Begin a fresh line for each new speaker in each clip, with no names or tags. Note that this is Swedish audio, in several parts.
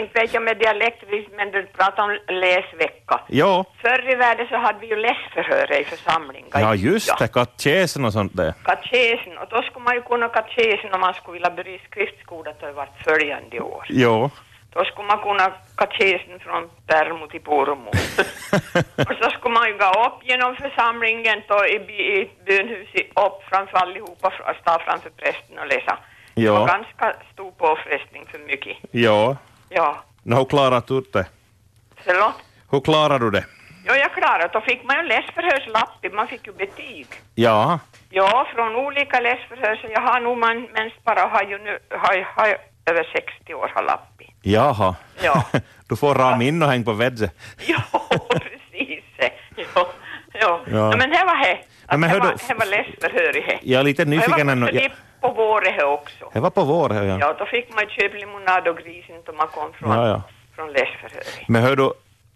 Inte vet jag med dialekt, men du pratar om läsvecka.
Ja,
Förr i världen så hade vi ju läsförhör i församlingar.
ja just det, katekesen och sånt där.
Katekesen, och då skulle man ju kunna katekesen om man skulle vilja börja i skriftskola till vart följande år.
Ja.
Då skulle man kunna katekesen från Pärmo till Pormo. och så skulle man ju gå upp genom församlingen då i, by- i bönhuset, upp framför allihopa, fr- stå framför prästen och läsa. Det var
Ja,
ganska stor påfrestning för mycket.
ja.
Ja,
No, hur klarar du det?
förlåt?
Hur klarar du det?
Ja, jag klarade Då fick man ju läsförhörslapp, man fick ju betyg.
Ja,
Ja, från olika läsförhör, så jag har nog man, mens bara har ju nu, har, ju- har ju över 60 år har lappi.
jaha.
Ja.
Du får rama in och häng på väggen.
Ja, precis. Ja, ja.
Ja.
No, men här var det.
Ja, men hör
här var,
du-
här var läsförhör i det.
Jag är lite nyfiken
ännu.
ännu.
Det
Jag,
var på våren här också.
det var på våren, ja.
Ja, då fick man ju köpa limonad och grisen då man kom från,
Ja, ja.
från läsförhör.
Men hör du,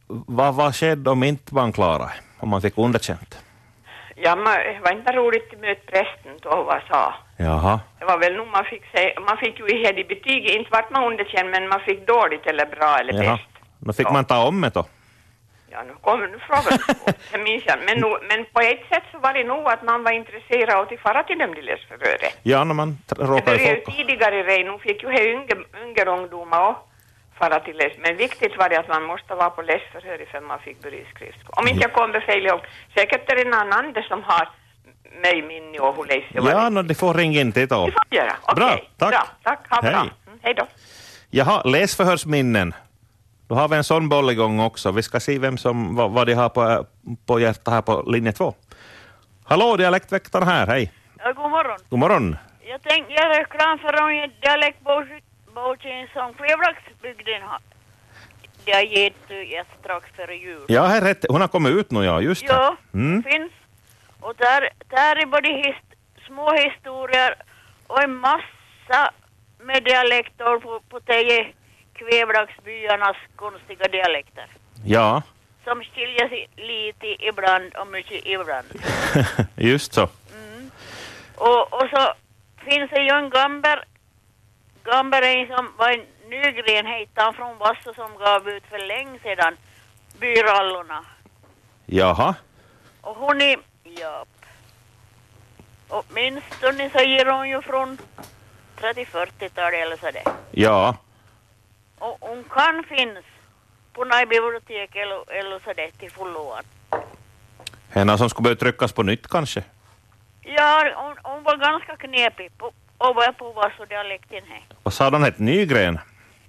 vad, vad skedde om inte man klarade? Om man fick underkänt?
Ja, men det var inte roligt att möta prästen då, vad sa.
Jaha.
Det var väl nog man fick säga, man fick ju i hedig betyg, inte vart man underkänd, men man fick dåligt eller bra eller
Jaha.
bäst.
Då fick
Ja.
man ta om det då.
Ja, nu kommer nu frågar du så. Det minns jag. Men, nu, men på ett sätt så var det nog att man var intresserad av att fara till dem de läsförhören.
Ja, när man tr-
Det
råkar
började ju
i folk.
tidigare rej, nu fick ju här yngre, yngre ungdomar också fara till läs. Men viktigt var det att man måste vara på läsförhör ifall man fick börja i skriftskola. Om inte jag kommer fel ihåg, säkert är det någon annan som har mig minne och hur läs jag var.
Ja, no, de får ringa in till då.
Det får jag göra. Okej.
Bra, tack.
Bra, tack. Ha bra.
Hej.
Mm, hej då.
Jaha, läsförhörsminnen. Då har vi en sån boll igång också. Vi ska se vem som, vad, vad de har på, på hjärtat här på linje två. Hallå, dialektväktaren här, hej.
Ja, god morgon.
God morgon.
Jag tänkte göra reklam för en dialektboken som Klevlaxbygden har. Jag gett ut eh, strax före jul.
Ja, här är rätt. Hon har kommit ut nu, ja. Just det.
Ja,
Mm.
finns. Och där, där är både hist, små historier och en massa med dialekter på, på tio Kvevlaxbyarnas konstiga dialekter.
Ja,
Som skiljer sig lite ibland och mycket ibland.
just så.
Och, och så finns det ju en Gamber. Gamber är en som var en Nygren hette han från Vasso som gav ut för länge sedan Byrallorna.
Jaha.
Och hon är, ja. Åtminstone så ger hon ju från 30-40-talet eller så det.
Ja.
Och hon kan finnas på något bibliotek eller, eller så det till fulloan.
Henne som skulle behöva tryckas på nytt kanske.
Ja, hon, hon var ganska knepig på, och var på Vasso-dialekten här.
Vad sa den hette? Nygren?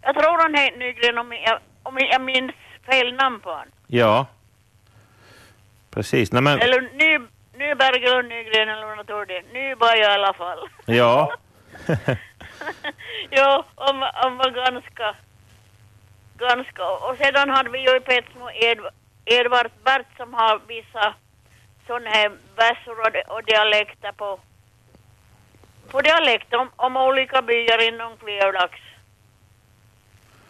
Jag tror han heter Nygren om jag, om jag minns fel namn på honom.
Ja. Precis. Nej, men,
Eller Ny, Nyberg och Nygren eller något av det. Nyberg i alla fall.
ja.
jo, han var- han var ganska... Ganska. Och sedan hade vi ju i Petsmo Edv- Edvard Bert som har vissa sådana här versor och, di- och dialekter på... På dialekt om, om olika byar inom Kvevlax.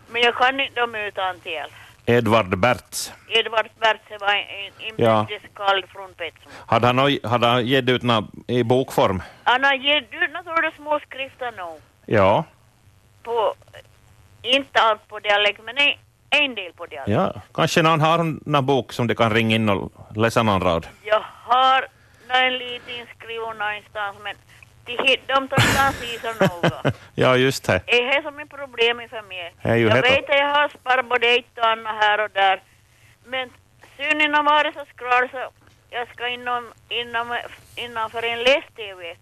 Men jag kan inte dem utan till.
Edvard Berts.
Edvard Bertse var en
Ja.
inbördeskall från Petsmo.
Hade han, nå- hade han gett ut nå i bokform?
Han har gett ut några små skrifter nu.
Ja.
På, inte allt på dialekt, men en, en del på dialekt.
ja. Kanske någon har en bok som de kan ringa in och läsa någon rad.
Jag har nå en liten skriven någonstans, men de, hit- de tar inte sig så noga.
ja, just det.
Det är som ett problem för mig.
Det är ju
jag
helt-
vet att jag har sparat både ett och annat här och där. Men synen har varit så skral så jag ska inom, inom, innanför en läs-tv.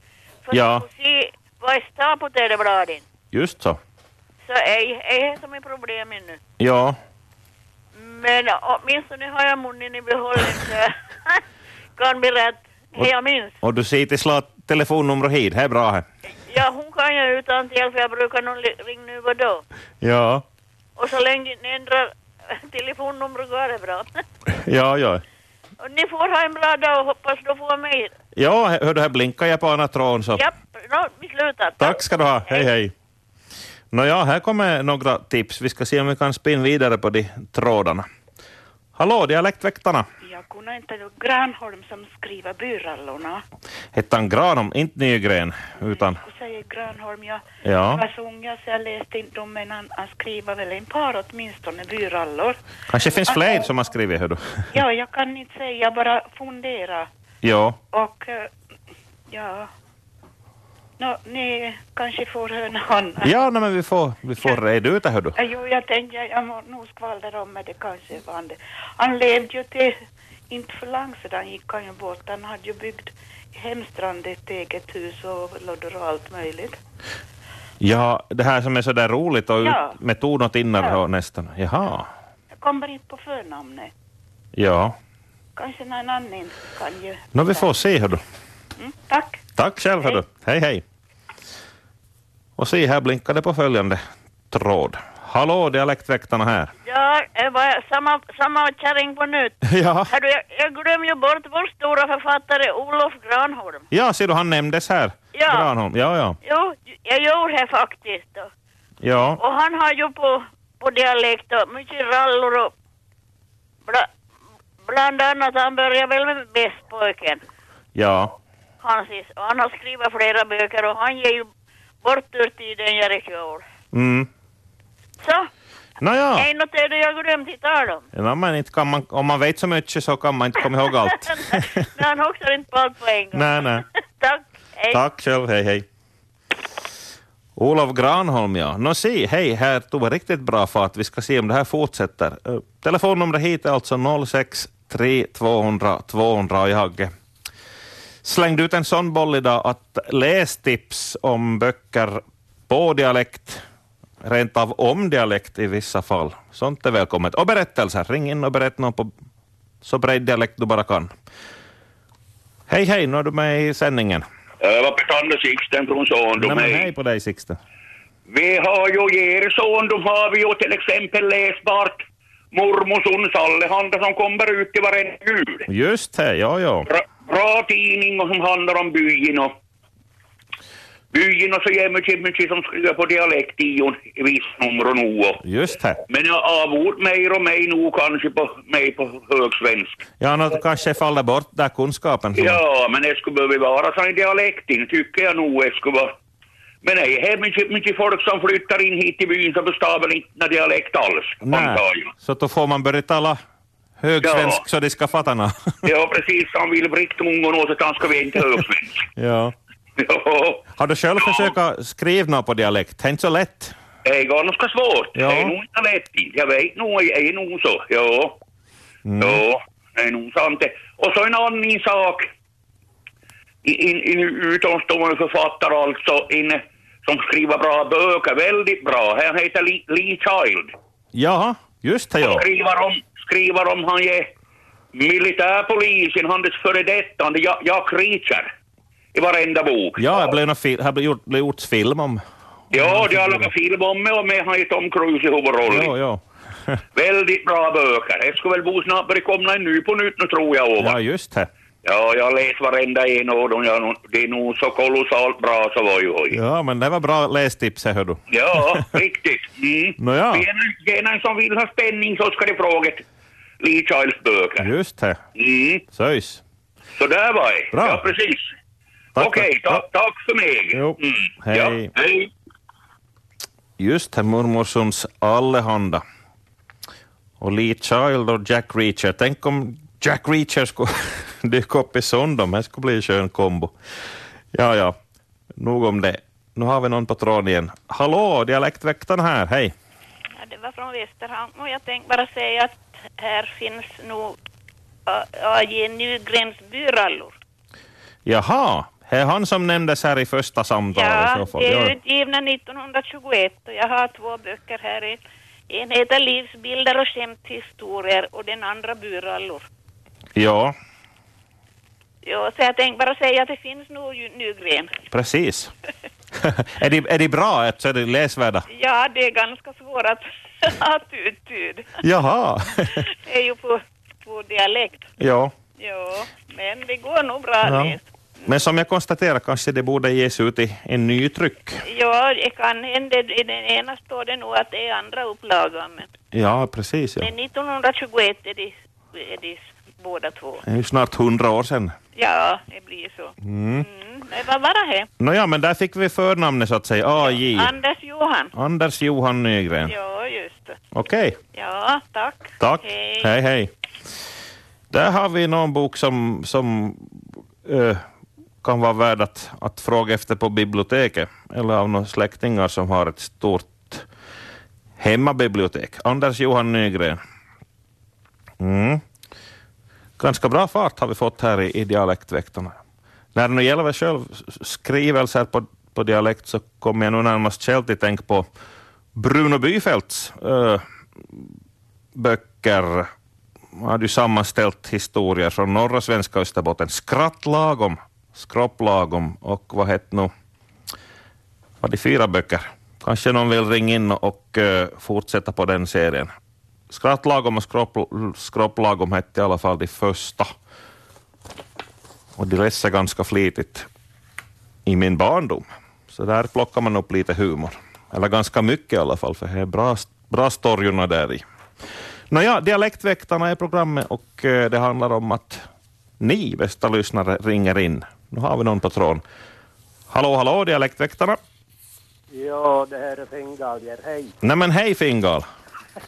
För
Ja.
att få se vad jag står på telebladen.
Just så.
Så är är det som är problemet nu.
Ja.
Men åtminstone har jag munnen i behållning så jag kan berätta det jag minns.
Och du ser till slå telefonnumret hit. Det är bra. här.
Ja, hon kan jag utan till för jag brukar nog li- ringa nu och då.
Ja.
Och så länge ni ändrar telefonnumret går det bra.
Ja, ja.
Och ni får ha en bra dag och hoppas du får mer.
Ja, hör du, här blinkar jag på ena tråden så.
Japp, no, vi slutar.
Tack ska du ha. Hej, hej. Nåja, här kommer några tips. Vi ska se om vi kan spinna vidare på de trådarna. Hallå, dialektväktarna.
Jag kunde inte då Granholm som skriver byrallorna.
Hette han Granholm, inte Nygren, utan...
Och säger Granholm, jag
Ja,
var så ung jag, så jag läste inte dem men han, han skriver väl en par åtminstone byrallor.
kanske finns fler som har skrivit, hördu.
Ja, jag kan inte säga, jag bara fundera.
Ja,
Och eh, ja, Nå, ni kanske får höra någon annan.
ja nej, men vi får, vi får reda ut det, hördu.
Ja, Jo, jag tänkte jag må nog skvallra om men det kanske var han det. Han levde ju till, inte för långt sedan gick han ju bort. Han hade ju byggt i Hemstrand ett eget hus och lådor och allt möjligt.
Ja, det här som är så där roligt och
Ja.
ut med ton och tinnar
Ja.
och nästan. Jaha,
Jag kommer inte på förnamnet.
ja.
Kanske någon annan kan ju.
Nå, vi får se, hördu.
Mm, tack.
Tack själv, hördu. Hej, hej. Och se, här blinkar det på följande tråd. Hallå, dialektväktarna här.
Ja, det var samma, samma kärring på nytt.
Ja,
Hördu, jag, jag glömmer ju bort vår stora författare Olof Granholm.
ja ser du, han nämndes här.
Ja.
Granholm. Ja, ja.
Jo, jag gör det faktiskt. då.
Ja,
Och han har ju på, på dialekt och mycket rallor och bla, bland annat han börjar väl med Bästpojken.
ja.
Hansis. Och han har skrivit flera böcker och han ger ju bort ur tiden jag rekord.
Mm.
Så,
Nåja.
en och det jag glömde i tal om.
Ja, men inte kan man, om man vet så mycket så kan man inte komma ihåg allt.
Men han hoxar inte på allt på en gång.
Nej, nej.
Tack, hej.
Tack själv, hej hej. Olof Granholm, ja. Nå se, hej, här tog det riktigt bra fart. Vi ska se om det här fortsätter. Eh, Telefonnumret hit är alltså 063 200 200 och jag slängde ut en sån boll idag att lästips om böcker på dialekt, rent av om dialekt i vissa fall. Sånt är välkommet. Och berättelser, ring in och berätta någon på så bred dialekt du bara kan. Hej hej, nu är du med i sändningen.
Äh, Vappet Anders Sixten från
Nej,
Sondom,
men
hej.
hej på dig Sixten.
Vi har ju er Sondom har vi ju till exempel läsbart mormorsson Sallehanda som kommer ut i varenda jul.
Just det, ja, ja.
Bra, bra tidning och som handlar om byn och byn och så jämnt mycket som skriver på dialekt i och i vissa nummer och nog. och-
Just det.
Men jag avord mer och mer nog kanske på mig på högsvensk.
Ja, nå, kanske faller bort där kunskapen. som-
Ja, men det skulle behöva vara så i dialekten, tycker jag nog det skulle vara. Men nej, här är mycket, mycket folk som flyttar in hit i byn så förstår väl inte någon dialekt alls, antar jag.
Så då får man börja tala högsvensk
Ja.
så de ska fatta nå.
Det var precis som Wilbricht Mungo åt att han ska vara inte högsvensk.
ja.
Ja,
Har du själv försökt skriva något på dialekt? Det är inte så lätt.
det är ganska svårt.
Ja.
Det är nog inte lätt. Jag vet nog, det är nog så. Ja, ja, det är nog sant det. Och så en annan sak. I- In, in, utomstående författare alltså, in, som skriver bra böcker, väldigt bra. Han heter Lee, Lee Child.
Jaha, just det, ja.
Skriver om, skriver om han är militärpolisen, hans före detta, han är Jack- Jack Reacher. I varenda bok.
Ja, det blev, nå fil- här blev, gjort, blev gjorts film om...
Ja, det har lagat film om mig och med han är Tom Cruise i huvudrollen.
Ja, ja.
Väldigt bra böcker. Det ska väl Bo snabbare komma en ny på nytt nu tror jag. Ova.
ja,
Ja.
just det.
jag har läst varenda en av dem. Jag, nog- det är nog så kolossalt bra så var ju hoj.
Ja, men det var bra lästips, hör du.
Ja, riktigt. Mm.
Nåja.
Det är en- Det är någon som vill ha spänning så ska de fråga ett Lee Childs böcker.
Just det.
Mm.
Söjs.
Så där var det.
Bra.
Ja, precis.
Tack,
Okej,
tack.
ta, tack för mig.
Jo.
Mm.
Hej.
Ja, hej.
Just det, mormorsons allehanda. Och Lee Child och Jack Reacher. Tänk om Jack Reacher skulle dyka upp i Sondom. Det skulle bli en skön kombo. Ja, ja. Nog om det. Nu har vi någon på tråden igen. Hallå, dialektväktaren här. Hej.
Ja, det var från Västerhamn och jag tänkte bara säga att här finns nog A- AJ Nygrens byrallor.
Jaha, det är han som nämndes här i första samtalet i så
Ja,
fall.
det
Ja,
är utgivna 1921 och jag har två böcker här. En- En heter Livsbilder och skämthistorier och den andra Byrallor.
ja,
Ja, så jag tänkte bara säga att det finns nog ju Nygren.
precis. är, de, är de bra, så är de läsvärda?
Ja, det är ganska svårt att, att uttyda.
Jaha.
Det är ju på, på dialekt.
ja.
Ja, men det går nog bra.
Ja.
det.
Men som jag konstaterar kanske det borde ges ut i en ny tryck.
Ja, det kan hända. I den ena står det nog att det är andra upplagan. Men,
Ja, precis. Ja.
men 1921 är det Edis, båda två.
Det är ju snart hundra år sedan.
Ja, det blir så.
Mm.
Mm. Men vad var det? här?
Nåja, men där fick vi förnamnet så att säga. AJ.
Anders Johan.
Anders Johan Nygren.
Ja, just det.
Okej,
Ja, tack.
tack.
Hej.
hej. hej. Där har vi någon bok som, som eh, kan vara värd att, att fråga efter på biblioteket eller av några släktingar som har ett stort hemmabibliotek. Anders Johan Nygren. Mm. Ganska bra fart har vi fått här i, i dialektväktarna. När det nu gäller själv skrivelser på, på dialekt så kommer jag nu närmast själv till tänka på Bruno Byfeldts eh, böcker Han hade ju sammanställt historier från norra svenska Österbotten. Skratt lagom, skropp lagom och vad hette nu? Var det fyra böcker? Kanske någon vill ringa in och eh, fortsätta på den serien. Skratt lagom och skropp, skropp lagom hette i alla fall de första. Och de läste ganska flitigt i min barndom. Så där plockar man upp lite humor. Eller ganska mycket i alla fall, för det är bra, bra storyorna där i. Nåja, Dialektväktarna är programmet och eh, det handlar om att ni, bästa lyssnare, ringer in. Nu har vi någon på tråden. Hallå, hallå, Dialektväktarna.
Ja, det här är Fingaljer. Hej.
Nej men hej Fingal.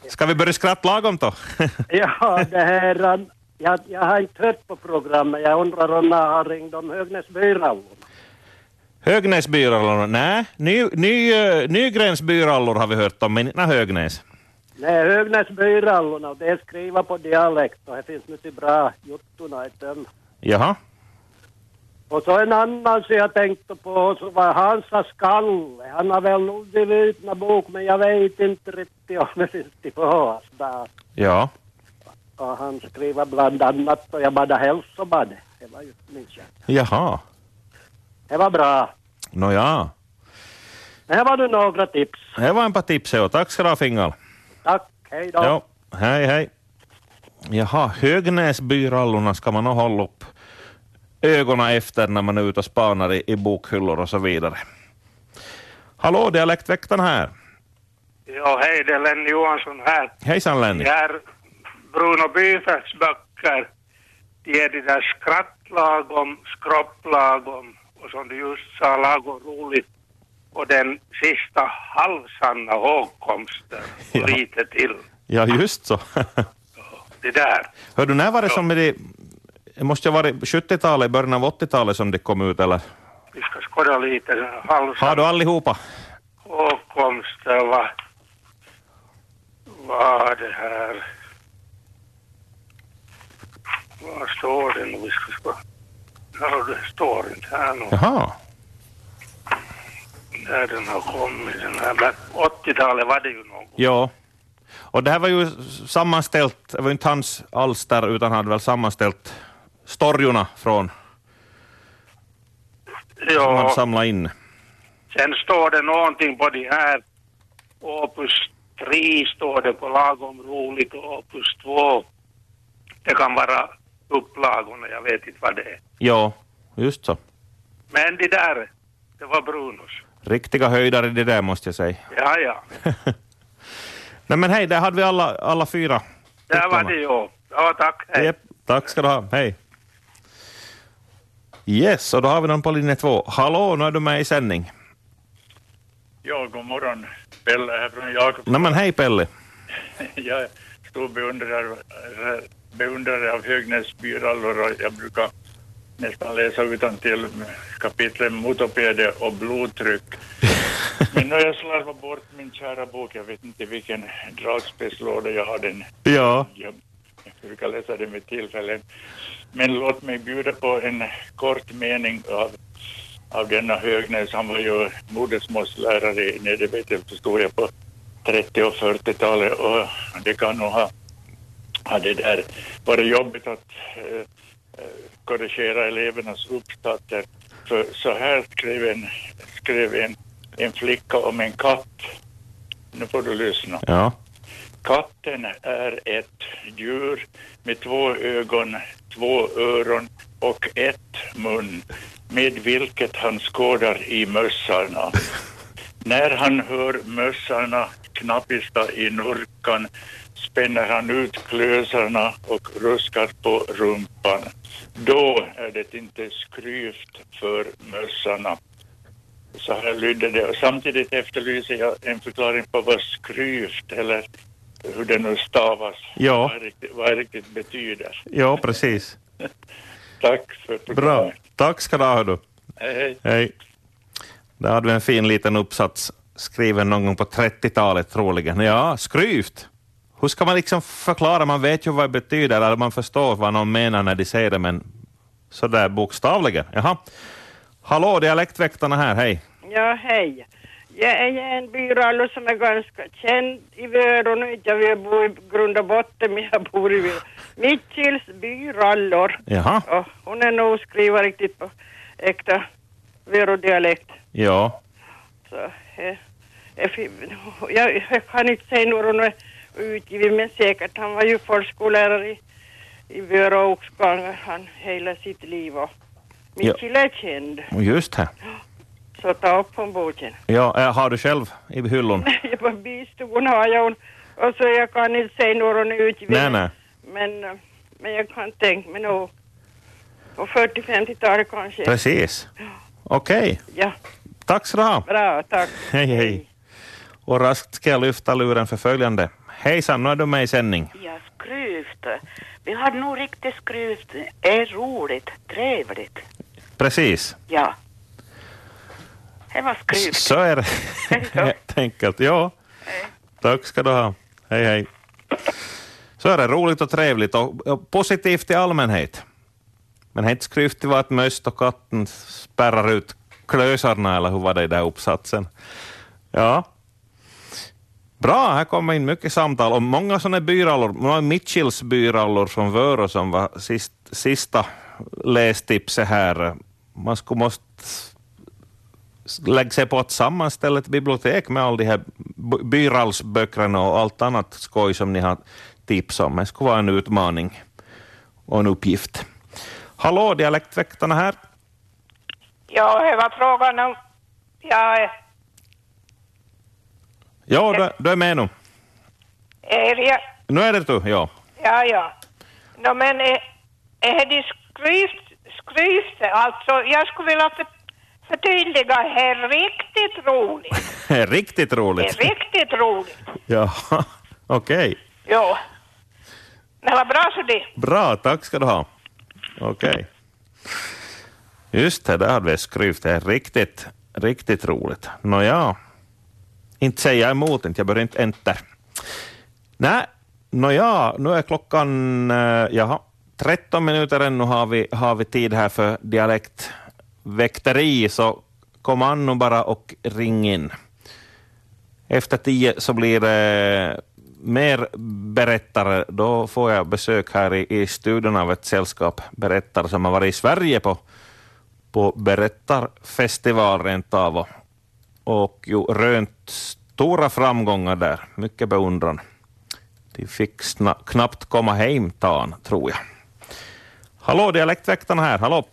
Ska vi börja skratta lagom då?
Ja, det här... um, Jag, jag har inte hört på programmet. Jag undrar om jag har ringt om Högnäsbyrallon.
Högnäsbyrallor? Nej, ny, ny, eh, Nygrensbyrallor har vi hört om, men inte Högnäs.
Nej, Högnäsbyrallorna. Det är skriva på dialekt och det finns mycket bra juttorna i dem.
Jaha.
Och så en annan som jag tänkte på så var Hansa Skalle. Han har väl nog givit ut en bok men jag vet inte riktigt om det finns tillbaka där.
Ja.
Och han skriver bland annat och jag bad hälsobad. Det var ju minns jag.
Jaha.
Det var bra.
Nåja.
Det här var nu några tips.
Det var en par tips. ja. Tack ska du ha Fingal.
Tack, hej då.
Ja, hej hej. Jaha, Högnäsbyrallorna ska man nog hålla upp ögonen efter när man är ute och spanar i, i bokhyllor och så vidare. Hallå, dialektväktaren här.
Ja, hej, det är Lenny Johansson här.
Hejsan Lenny.
Det här Bruno Byfeldts böcker, det är det där skrattlagom, skropplagom och som du just sa, lagom roligt. Och den sista halvsanna hågkomsten och
Ja.
lite till.
Ja, just så.
Det där.
Hör du, när var det som det... Det måste ju ha varit 70-talet, i början av 80-talet som det kom ut, eller?
Vi ska skåda lite. den här Halvsanna
Har du allihopa?
hågkomsten var, var det här. Vad står det nu? Vi ska skåda. Ja, det står inte här nu.
Jaha.
Där den har kommit, den här. Men 80-talet var det ju någon gång.
Ja. Och det här var ju s- sammanställt, det var ju inte hans alls där, utan han hade väl sammanställt storjorna från, som han
Ja,
samlade in.
sen står det någonting på de här. Opus 3 står det på lagom roligt och Opus 2. Det kan vara upplagorna, jag vet inte vad det är.
Ja, just så.
Men det där, det var Brunos.
Riktiga höjdare det där måste jag säga.
Ja, ja.
Nej men hej, där hade vi alla, alla fyra.
Där var
titlarna.
det ju. Ja, tack. Hej.
Japp, tack ska du ha, hej. Yes, och då har vi någon på linje två. Hallå, nu är du med i sändning.
Ja, god morgon. Pelle här från Jakob.
Nej men hej Pelle.
Jag är stor beundrare, äh, beundrare av Högnäs byrallor och jag brukar nästan läsa utan till kapitlen motopede och blodtryck. Men nu har jag slarvat bort min kära bok. Jag vet inte vilken dragspelslåda jag har den.
Ja.
Jag brukar läsa den vid tillfällen. Men låt mig bjuda på en kort mening av, av denna Högnäs. Han var ju modersmålslärare i Nedervetel, förstår jag, på 30 och 40-talet och det kan nog ha, ha det där varit jobbigt att eh, eh, korrigera elevernas uppsatser. För så här skrev en, skrev en, en flicka om en katt. Nu får du lyssna.
Ja.
Katten är ett djur med två ögon, två öron och ett mun med vilket han skådar i mössarna. När han hör mössarna knappista i nurkan spänner han ut klösarna och ruskar på rumpan. Då är det inte skryft för mössarna. Så här lydde det. Och Samtidigt efterlyser jag en förklaring på vad skryft eller hur det nu stavas,
Ja,
vad det riktigt, vad det riktigt betyder.
ja precis.
Tack för
Bra. Tack ska du ha. hördu.
Hej, hej.
Hej. Där hade vi en fin liten uppsats skriven någon gång på 30-talet troligen. Ja, skryvt. Hur ska man liksom förklara? Man vet ju vad det betyder, eller man förstår vad någon menar när de säger det, men sådär bokstavligen. Jaha. Hallå, dialektväktarna här, hej.
Ja, hej. Jag är en byrallo som är ganska känd i Vörå nu. inte Jag vill bo i grund och botten, men jag bor i Vörå. Mitchels byrallor.
Jaha.
Ja, hon är nog skriva riktigt på äkta Vörå-dialekt.
Ja,
Så, eh, eh, fi- jag, jag kan inte säga när hon är utgiven, men säkert. Han var ju förskollärare i, i Vörå och Oxgångar, han hela sitt liv. och
Ja.
Mitchell är känd,
och just det.
så ta upp hon boken.
Ja, äh, har du själv i hyllan?
Nej, på bistugan har jag hon. Och så jag kan inte säga någon
Nej,
utgiven.
nej.
Men, eh, men jag kan tänka mig nog på 40-50-talet kanske.
Precis. Okej.
Ja,
Tack så du ha.
bra, tack.
Hej, hej. Och raskt ska jag lyfta luren för följande. Hejsan, nu är du med i sändning.
Ja, skryvt. Vi har nog riktigt skryvt. är roligt, trevligt.
Precis.
Ja. Det var skryvt.
Så är det helt enkelt. Ja. Tack ska du ha. Hej, hej. Så är det roligt och trevligt och, och positivt i allmänhet. Men helt skryftigt var att möst och katten spärrar ut klösarna, eller hur var det i den här uppsatsen? Ja. Bra, här kommer in mycket samtal om många sådana byrallor. Några Mitchells byrallor från Vörå som var sist, sista lästipset här. Man skulle måste lägga sig på att sammanställa ett bibliotek med alla de här b- byrallsböckerna och allt annat skoj som ni har tips om. Det skulle vara en utmaning och en uppgift. Hallå, dialektväktarna här.
Ja, det var frågan om... Ja,
Ja, du, du är med nu.
är det...
Nu är det du, ja.
Ja, ja. No, men e- är, är det skryft, skryft? Alltså, jag skulle vilja för, förtydliga här riktigt roligt.
Riktigt
Det
roligt.
är riktigt roligt.
Ja, okej.
Jo. Men vad bra så det.
Bra, tack ska du ha. Okej. Just det, där hade vi skryvt. Det är riktigt, riktigt roligt. Nåja, inte säger jag emot, inte. jag börjar inte enter. Nej, nåja, nu är klockan, eh, jaha, 13 minuter ännu har vi, har vi tid här för dialektväkteri, så kom an nu bara och ring in. Efter tio så blir det mer berättare. Då får jag besök här i, i studion av ett sällskap berättare som har varit i Sverige på, på berättarfestival rent av och, och ju, rönt stora framgångar där. Mycket beundran. De fick sna, knappt komma hem, tan, tror jag. Hallå, dialektväktarna här. Hallå!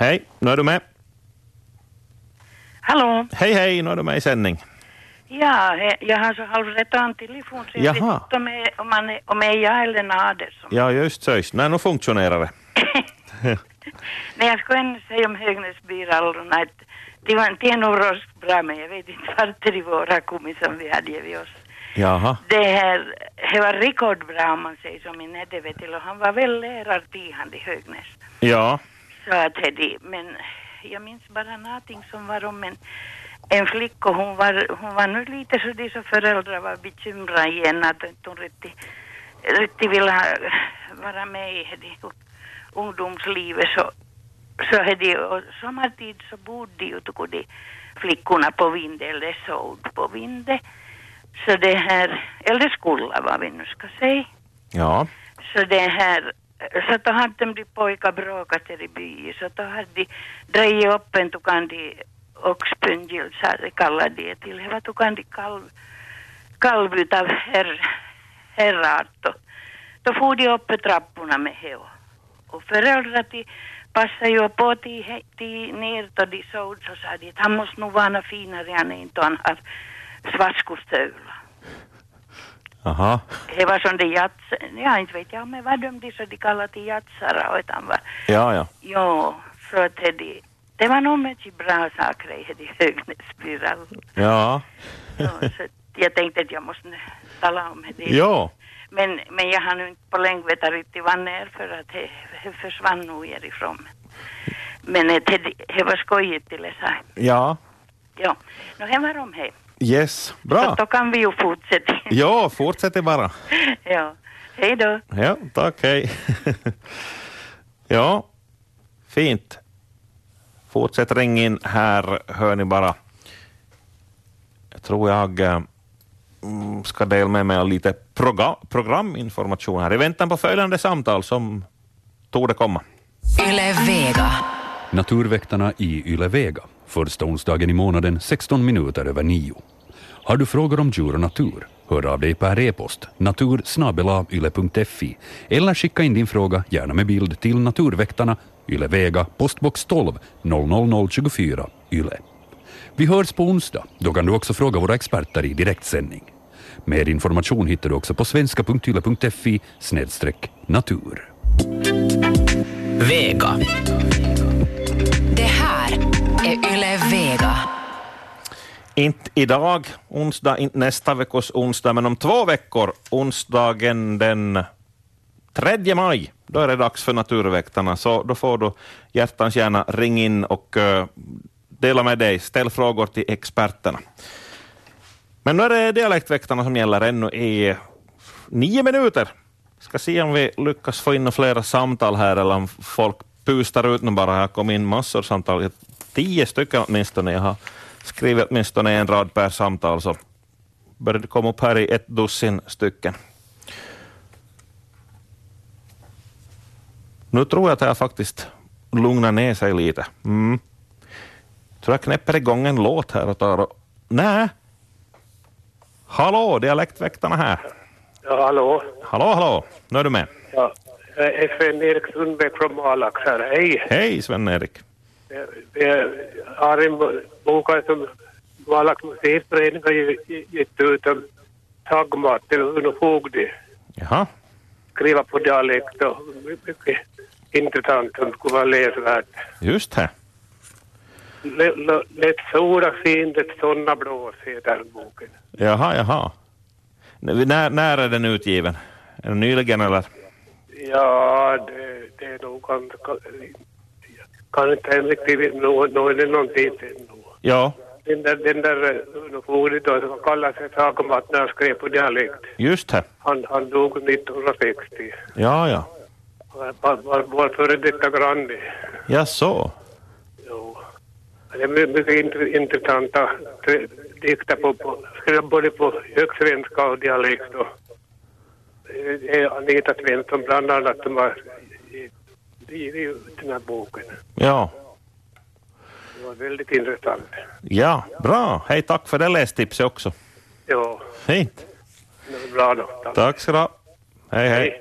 Hej, nu är du med.
Hallå.
Hej, hej, nu är du med i sändning.
Ja, eh, jag har så halvrätt an telefon. Så jag vet
Jaha.
inte om jag- om man är- om jag är jag eller Nader. som-
Ja, just så. Nej, nu fungerar det.
Men jag skulle ändå säga om Högnäsbyrallorna att det var inte nog rost bra, men jag vet inte vart det våra kommit som vi hade givit oss.
Jaha.
Det här, det var rekordbra om man säger som i Nedevetil och han var väl lärare till han i Högnäs.
Ja,
Så att det, är det. men jag minns bara någonting som var om en, en flicka, hon var, hon var nu lite så det så föräldrar var bekymrade igen att inte hon riktigt, riktigt ville ha, vara med i det ungdomslivet så, så är det, och sommartid så bodde ju då de flickorna på Vinde eller såg på Vinde. Så det här, eller skola vad vi nu ska säga.
ja,
Så det här, så då hade de pojkar bråkat där i byn, så då hade de drejt upp en tukandi oxpungilsare, kallade det till. Det var tukandi kalv, kalv utav herr, herrart. Då for de upp i trapporna med det och, och föräldrar till passade jag på till, he- till ner då de såg så sa de att han måste nog vara finare än inte han har svartskostövlar.
Aha.
Det var som de jats, ja inte vet jag men vad de de så de kallade till jatsara utan var,
Ja, ja.
ja, för att det, det var nog mycket bra saker i det Högnäsbyrall.
Ja.
Ja, så att jag tänkte att jag måste nu tala om det.
Ja.
Men, men jag har nu inte på länge vetat riktigt vad det är för att det, det försvann nog härifrån. Men det, det, det var skojigt till det så.
Ja.
Ja, nu det var om det.
Yes. Bra.
Då kan vi ju fortsätta.
Ja, fortsätter bara.
ja, hej då.
Ja, tack, hej. ja, fint. Fortsätt ring in här, hör ni bara. Jag tror jag eh, mm, ska dela med mig av lite proga- programinformation här i väntan på följande samtal som torde komma.
Yle Vega.
Naturväktarna i Yle Vega. Första onsdagen i månaden 16 minuter över nio. Har du frågor om djur och natur? Hör av dig per e-post natursnabelayle.fi eller skicka in din fråga, gärna med bild, till Naturväktarna, Yle Vega, postbox 12 00024 Yle. Vi hörs på onsdag. Då kan du också fråga våra experter i direktsändning. Mer information hittar du också på svenska.yle.fi snedstreck natur.
Vega. Det här är Yle Vega.
Inte idag, onsdag, inte nästa veckos onsdag, men om två veckor, onsdagen den 3 maj, då är det dags för Naturväktarna. Så då får du hjärtans gärna ring in och eh, dela med dig, ställ frågor till experterna. Men nu är det dialektväktarna som gäller ännu i nio minuter. Ska se om vi lyckas få in några flera samtal här eller om folk pustar ut nu bara. Här kom in massor samtal, tio stycken åtminstone. Jag har skrivit åtminstone en rad per samtal, så börjar det komma upp här i ett dussin stycken. Nu tror jag att jag faktiskt lugnar ner sig lite. Mm. Tror jag knäpper igång en låt här och tar och... Nej! Hallå, dialektväktarna här.
Ja, hallå.
Hallå, hallå. Nu är du med.
Ja. FN-Erik Sundbäck från Malax här. Hej.
Hej, Sven-Erik.
Eh, har en bok här som Valax museiförening har ge- ge- gett ut om Sagmat till Uno Fogde.
Jaha.
Skriva på dialekt och mycket intressant som skulle vara läsvärt.
Just det.
L- l- Lätt sola fin, det sådana blås heter boken.
Jaha, jaha. N- När, när är den utgiven? Är den nyligen eller?
Ja, det, det är nog ganska... Kan inte riktigt nå, nå det någon tid sedan.
Ja,
Den där, den där Uno då som kallar sig Sagmat när han skrev på dialekt.
just det.
Han, han dog 1960.
Ja, ja.
Var, var, var, var före detta granne.
Ja, så.
Det är my- mycket int- intressanta tre- dikter på, på, skrivna både på högsvenska och dialekt. Och, eh, det är Anita Svensson bland annat som har givit ut den här boken.
Ja,
Det var väldigt intressant.
ja. Bra. Hej, tack för det lästipset också.
Ja,
Fint.
det var bra då.
Tack ska du ha. Hej, hej.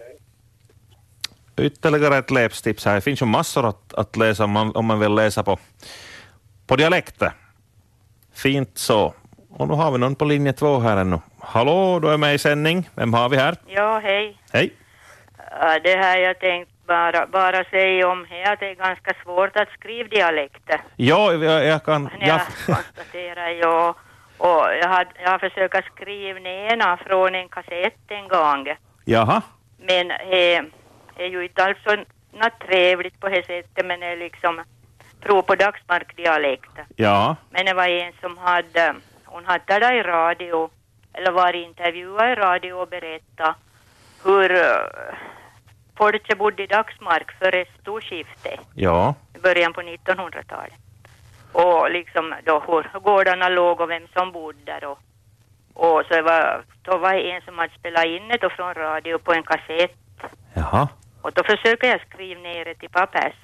Ytterligare ett lästips här. Det finns ju massor att, att läsa om man, om man vill läsa på, på dialekter. Fint så. Och nu har vi någon på linje två här ännu. Hallå, du är med i sändning. Vem har vi här?
Ja, hej.
Hej.
Ja, Det här jag tänkt bara, bara säga om här, att det är ganska svårt att skriva dialekter.
Ja, jag, jag kan...
När
Jag,
jag konstaterar jag. Och jag har, jag har försökt skriva ner ena från en kassett en gång.
jaha.
Men eh, det är ju inte alls så något trevligt på det sättet, men det är liksom prov på dagsmarkdialekt.
Ja.
Men det var en som hade, hon hade talat i radio, eller var intervjuad i radio och berättat hur eh, folket bodde i Dagsmark före storskiftet
Ja.
i början på 1900-talet. Och liksom då hur gårdarna låg och vem som bodde där och, och så det var, då var det en som hade spelat in det då från radio på en kassett
Jaha.
och då försökte jag skriva ner det till pappers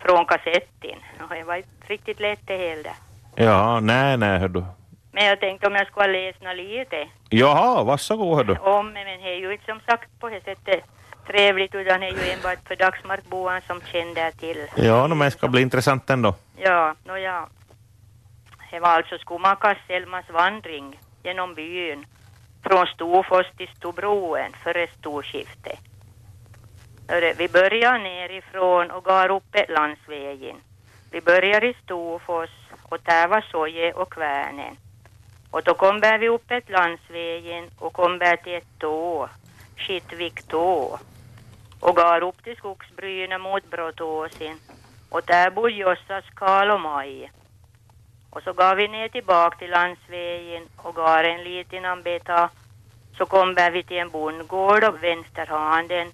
från kassetten. Och det var inte riktigt lätt det heller.
Ja, nej, nej, hördu.
Men jag tänkte om jag skulle läsa lite
Jaha, varsågod, hördu.
om det, men det är ju inte som sagt på det sättet trevligt utan det är ju enbart för Dagsmarkboan som känner till.
Ja, no, men det ska bli intressant ändå.
Ja, nåja. Det var alltså Skomakas Selmas vandring genom byn från Storfors till Storbroen före storskiftet. Hörru, Vi börjar nerifrån och går upp landsvägen. Vi börjar i Storfors och där var Soje och Kvärnen. Och då kommer vi upp ett landsvägen och kommer till ett tå, Skittvik tå. Och går upp till skogsbryna mot Bråtåsen. Och där bor Jossas Karl och Maj. Och så går vi ner tillbaka till landsvägen och går en liten bit av. Så kommer vi till en bondgård och vänsterhanden.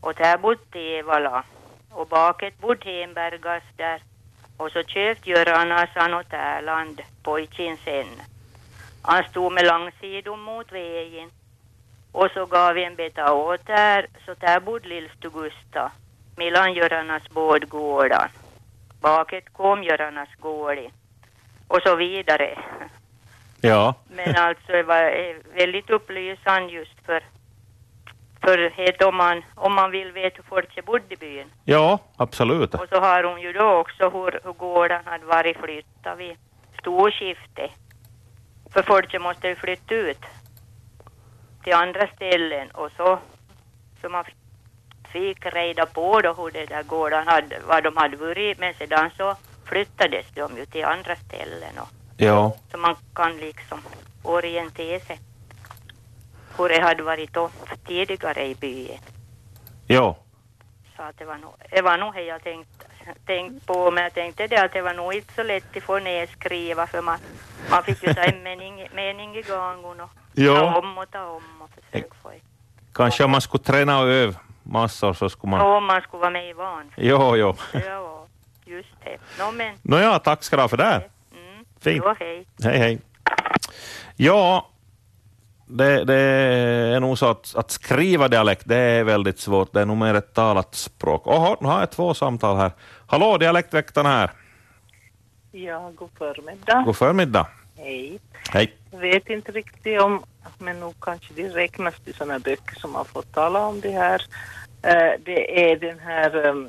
Och där bodde Tevala. Och baket bodde Hembergas där. Och så köpte Göran Assan och Tärland, pojken sen. Han stod med långsidan mot vägen. Och så gav vi en bit åt där, så där bodde Lillstugusta. Mellan Göranas bådgårdar. Baket kom Göranas gård i. Och så vidare.
Ja.
Men alltså det var eh, väldigt upplysande just för, för het om man, om man vill veta hur folk bodde i byn.
Ja, absolut.
Och så har hon ju då också hur, hur gården hade varit flyttad vid storskiftet. För folk måste ju flytta ut till andra ställen och så, så man fick reda på då hur det där gården hade, vad de hade varit men sedan så flyttades de ju till andra ställen och
Ja.
så man kan liksom orientera sig hur det hade varit då tidigare i byn.
Ja.
Så att det var nog, det var nog det jag tänkt, tänkt på, men jag tänkte det att det var nog inte så lätt att få nedskriva för man, man fick ju ta en mening, mening i gången och ta
Ja.
om och ta om.
Eh, Kanske om man skulle träna och öva massor så skulle
Man.
man...
Om man skulle vara med i van.
Jo, jo.
Ja, just det. Nå men,
Nåja, tack ska du ha för det. här. Fint.
Mm. jo, hej.
Hej, hej. Ja, det, det är nog så att, att skriva dialekt, det är väldigt svårt. Det är nog mer ett talat språk. Oho, nu har jag två samtal här. Hallå, dialektväktaren här.
Ja, god förmiddag.
God förmiddag.
Hej.
Hej.
Jag vet inte riktigt om, men nog kanske det räknas till sådana böcker som man får tala om det här. Eh, det är den här em,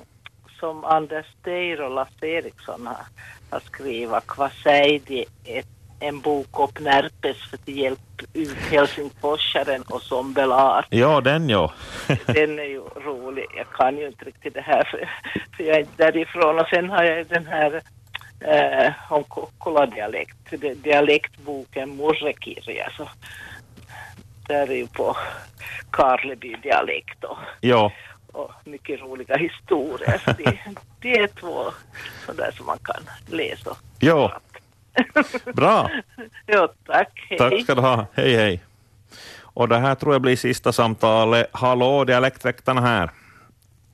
som Anders Teir och Lasse Eriksson har, har skrivit, Kvasäidi, ett- en bok om Närpes för att hjälpa ut helsingforsaren och Sombelar.
Ja, den ja.
Den är ju rolig. Jag kan ju inte riktigt det här för, för jag är inte därifrån. Och sen har jag ju den här eh, om Kokkola-dialekt, Det- dialektboken Murrekirja. Så där är ju på Karleby-dialekt och,
Ja,
och mycket roliga historier. Så det, det är två sådär som man kan läsa.
ja. Bra.
Ja, tack. Hej.
Tack ska du ha. Hej, hej. Och det här tror jag blir sista samtalet. Hallå, dialektväktaren här.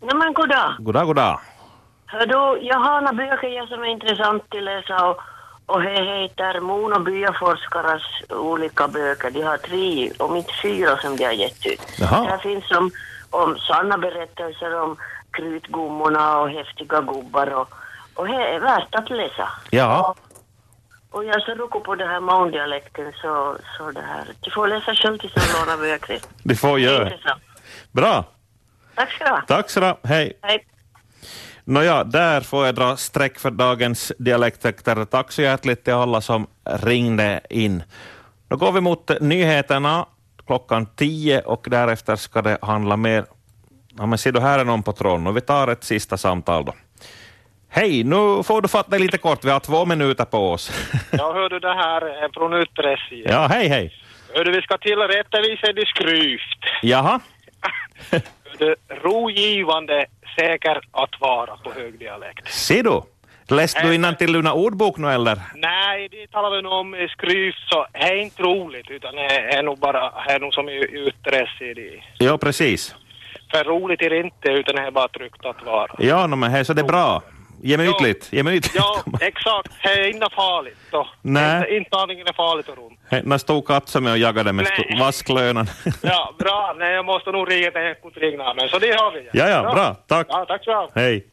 Nej men goddag.
Goda, goda.
Hör du, jag har några böcker som är intressant att läsa och, och det heter Mono byaforskares olika böcker. De har tre, om inte fyra som de har gett ut.
Jaha.
Där finns om, om sanna berättelser om krutgummorna och häftiga gubbar och, och det är värt att läsa.
Ja,
Och jag är så ruckar på det här maundialekten så, så det här. Du får läsa själv tills du lånar böcker.
det får
Det är
göra.
intressant.
Bra.
Tack ska du ha.
Tack så du Hej.
Hej.
Nåja, där får jag dra streck för dagens dialektväktare. Tack så hjärtligt till alla som ringde in. Nu går vi mot nyheterna klockan tio och därefter ska det handla mer. Ja, men ser du, här är någon på tråden och vi tar ett sista samtal då. Hej, nu får du fatta dig lite kort. Vi har två minuter på oss.
Ja, hör du det här eh, från Utpressi?
Ja, hej, hej.
Hör du, vi ska tillrättavisa det skryft.
Jaha.
Hör du, Rogivande säker att vara på högdialekt.
Ser du? Läste du innantill Luna ordbok nu eller?
Nej, det talar vi nog om i skryft så det är inte roligt utan det är nog bara, det är nog som i Utpressi det.
Ja, precis.
För roligt är det inte utan det är bara tryggt att vara.
Ja, no, men hej, så det är bra. Gemytligt. Gemytligt.
Ja, exakt. Det är inte farligt då.
Nej.
Inte- Inte aningen är farligt och runt.
Hej, När stod katsen med och jagade med
Nej.
sko- vasklönan.
Ja, bra. Nej, jag måste nog ringa till Henrik mot ringnamnen så det har vi.
Ja, ja, bra. Tack.
Ja, tack så mycket.
Hej.